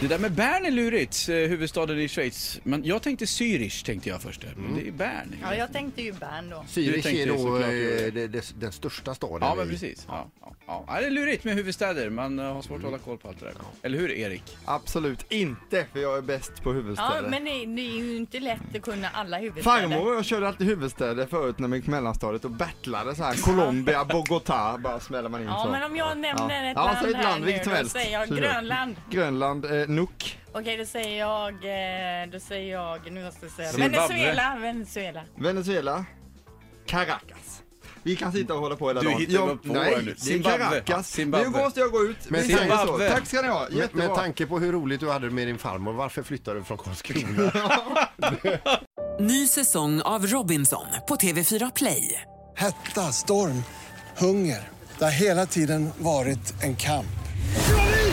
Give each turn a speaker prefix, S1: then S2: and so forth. S1: Det där med Bern är lurigt, eh, huvudstaden i Schweiz. Men jag tänkte Zürich tänkte jag först. där, Men det är Bern.
S2: Ja, jag tänkte ju Bern då.
S1: Du
S3: Zürich
S1: tänkte
S3: är då
S1: såklart Göteborg.
S3: eh, det, det, den största staden.
S1: Ja, men
S3: i-
S1: precis. Ja. Ja. Ja. Ja, det är lurigt med huvudstäder. Man eh, har svårt att hålla koll på allt det där. Eller hur, Erik?
S4: Absolut inte, för jag är bäst på
S2: Ja,
S4: huvudstäder.
S2: men det, det är ju inte lätt att kunna alla huvudstäder.
S4: Farmor och jag körde alltid huvudstäder förut när vi gick mellanstadiet och battlade så här. Colombia, Bogotá, bara smäller man in
S2: Ja,
S4: så.
S2: men om jag nämner
S4: Ja.
S2: ett
S4: Ja,
S2: land
S4: säg ett
S2: här
S4: land, vilket som
S2: nu, då
S4: helst.
S2: säger jag
S4: Säg det.
S2: Grönland.
S4: Grönland, eh, Nuuk,
S2: Okej, då säger jag, eh, då säger jag, nu måste jag säga
S1: Zimbabwe.
S2: Venezuela, Venezuela.
S4: Venezuela, Caracas. Vi kan sitta och hålla på hela
S1: Du
S4: dagen.
S1: hittar
S4: Jag-
S1: upp på här nu.
S4: Nej, det är
S1: Zimbabwe.
S4: Caracas.
S1: Zimbabwe.
S4: Nu måste jag gå ut.
S3: Men
S4: Vi säger så.
S1: Zimbabwe.
S4: Tack ska ni ha,
S3: Med,
S4: jättebra.
S3: med tanke på hur roligt du hade med din farmor, varför flyttade du från Karlskrona?
S5: Ny säsong av Robinson på TV4 Play.
S6: Hetta, storm, hunger. Det har hela tiden varit en kamp.